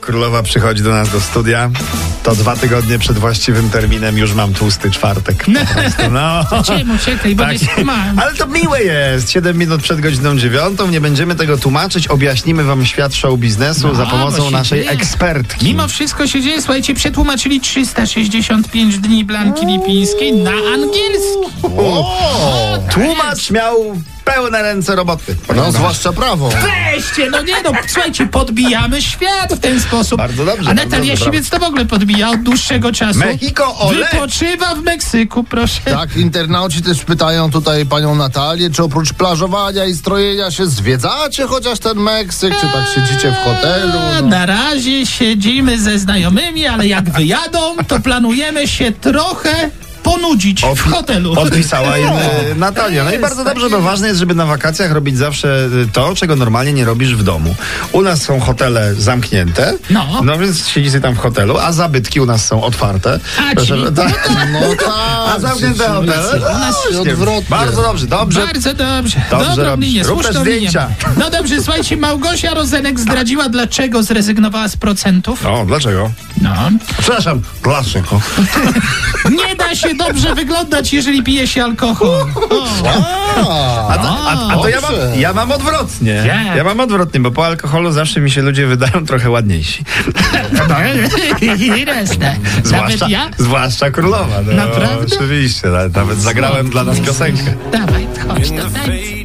Królowa przychodzi do nas do studia. To dwa tygodnie przed właściwym terminem już mam tłusty czwartek. Po prostu. No. Czemu czekaj, bo Tak. nie skumałem. Ale to miłe jest. 7 minut przed godziną dziewiątą. Nie będziemy tego tłumaczyć. Objaśnimy wam świat show biznesu No, za bo pomocą się naszej dzieje. ekspertki. Mimo wszystko się dzieje, słuchajcie, przetłumaczyli 365 dni Blanki Lipińskiej na angielski. o, tłumacz miał pełne ręce roboty. No, zwłaszcza prawo. Weźcie, no nie no, słuchajcie, podbijamy świat w ten sposób. Bardzo dobrze, A bardzo Natalia dobrze, Siwiec to w ogóle podbija od dłuższego czasu. Mexico, ole! Wypoczywa w Meksyku, proszę. Tak, internauci też pytają tutaj panią Natalię, czy oprócz plażowania i strojenia się zwiedzacie chociaż ten Meksyk, czy tak siedzicie w hotelu? A, No. Na razie siedzimy ze znajomymi, ale jak wyjadą, to planujemy się trochę ponudzić Od- w hotelu. No. Odpisała im e, Natalia. No i bardzo dobrze, bo ważne jest, żeby na wakacjach robić zawsze e, to, czego normalnie nie robisz w domu. U nas są hotele zamknięte, No. no więc siedzi sobie tam w hotelu, a zabytki u nas są otwarte. A, czyli- tak. No tak. A zamknięte przecież hotele? u nas się No, odwrotnie. Bardzo dobrze, dobrze. Bardzo dobrze. Dobrze Dobrą robisz. linię, Rób słuszną też zdjęcia. linię. No dobrze, słuchajcie, Małgosia Rozenek zdradziła, dlaczego zrezygnowała z procentów. O, dlaczego? No. Przepraszam, dlaczego? Nie da się dobrze wyglądać, jeżeli pije się alkohol. O. A, A to, a, a to ja, mam, Dobrze. ja mam odwrotnie. Jak? Ja mam odwrotnie, bo po alkoholu zawsze mi się ludzie wydają trochę ładniejsi. Resztę. Nawet no, Zwłaszcza, ja? zwłaszcza królowa. No, Naprawdę? Oczywiście, nawet, nawet zagrałem dla nas piosenkę. Dawaj, chodź, In the dawaj. face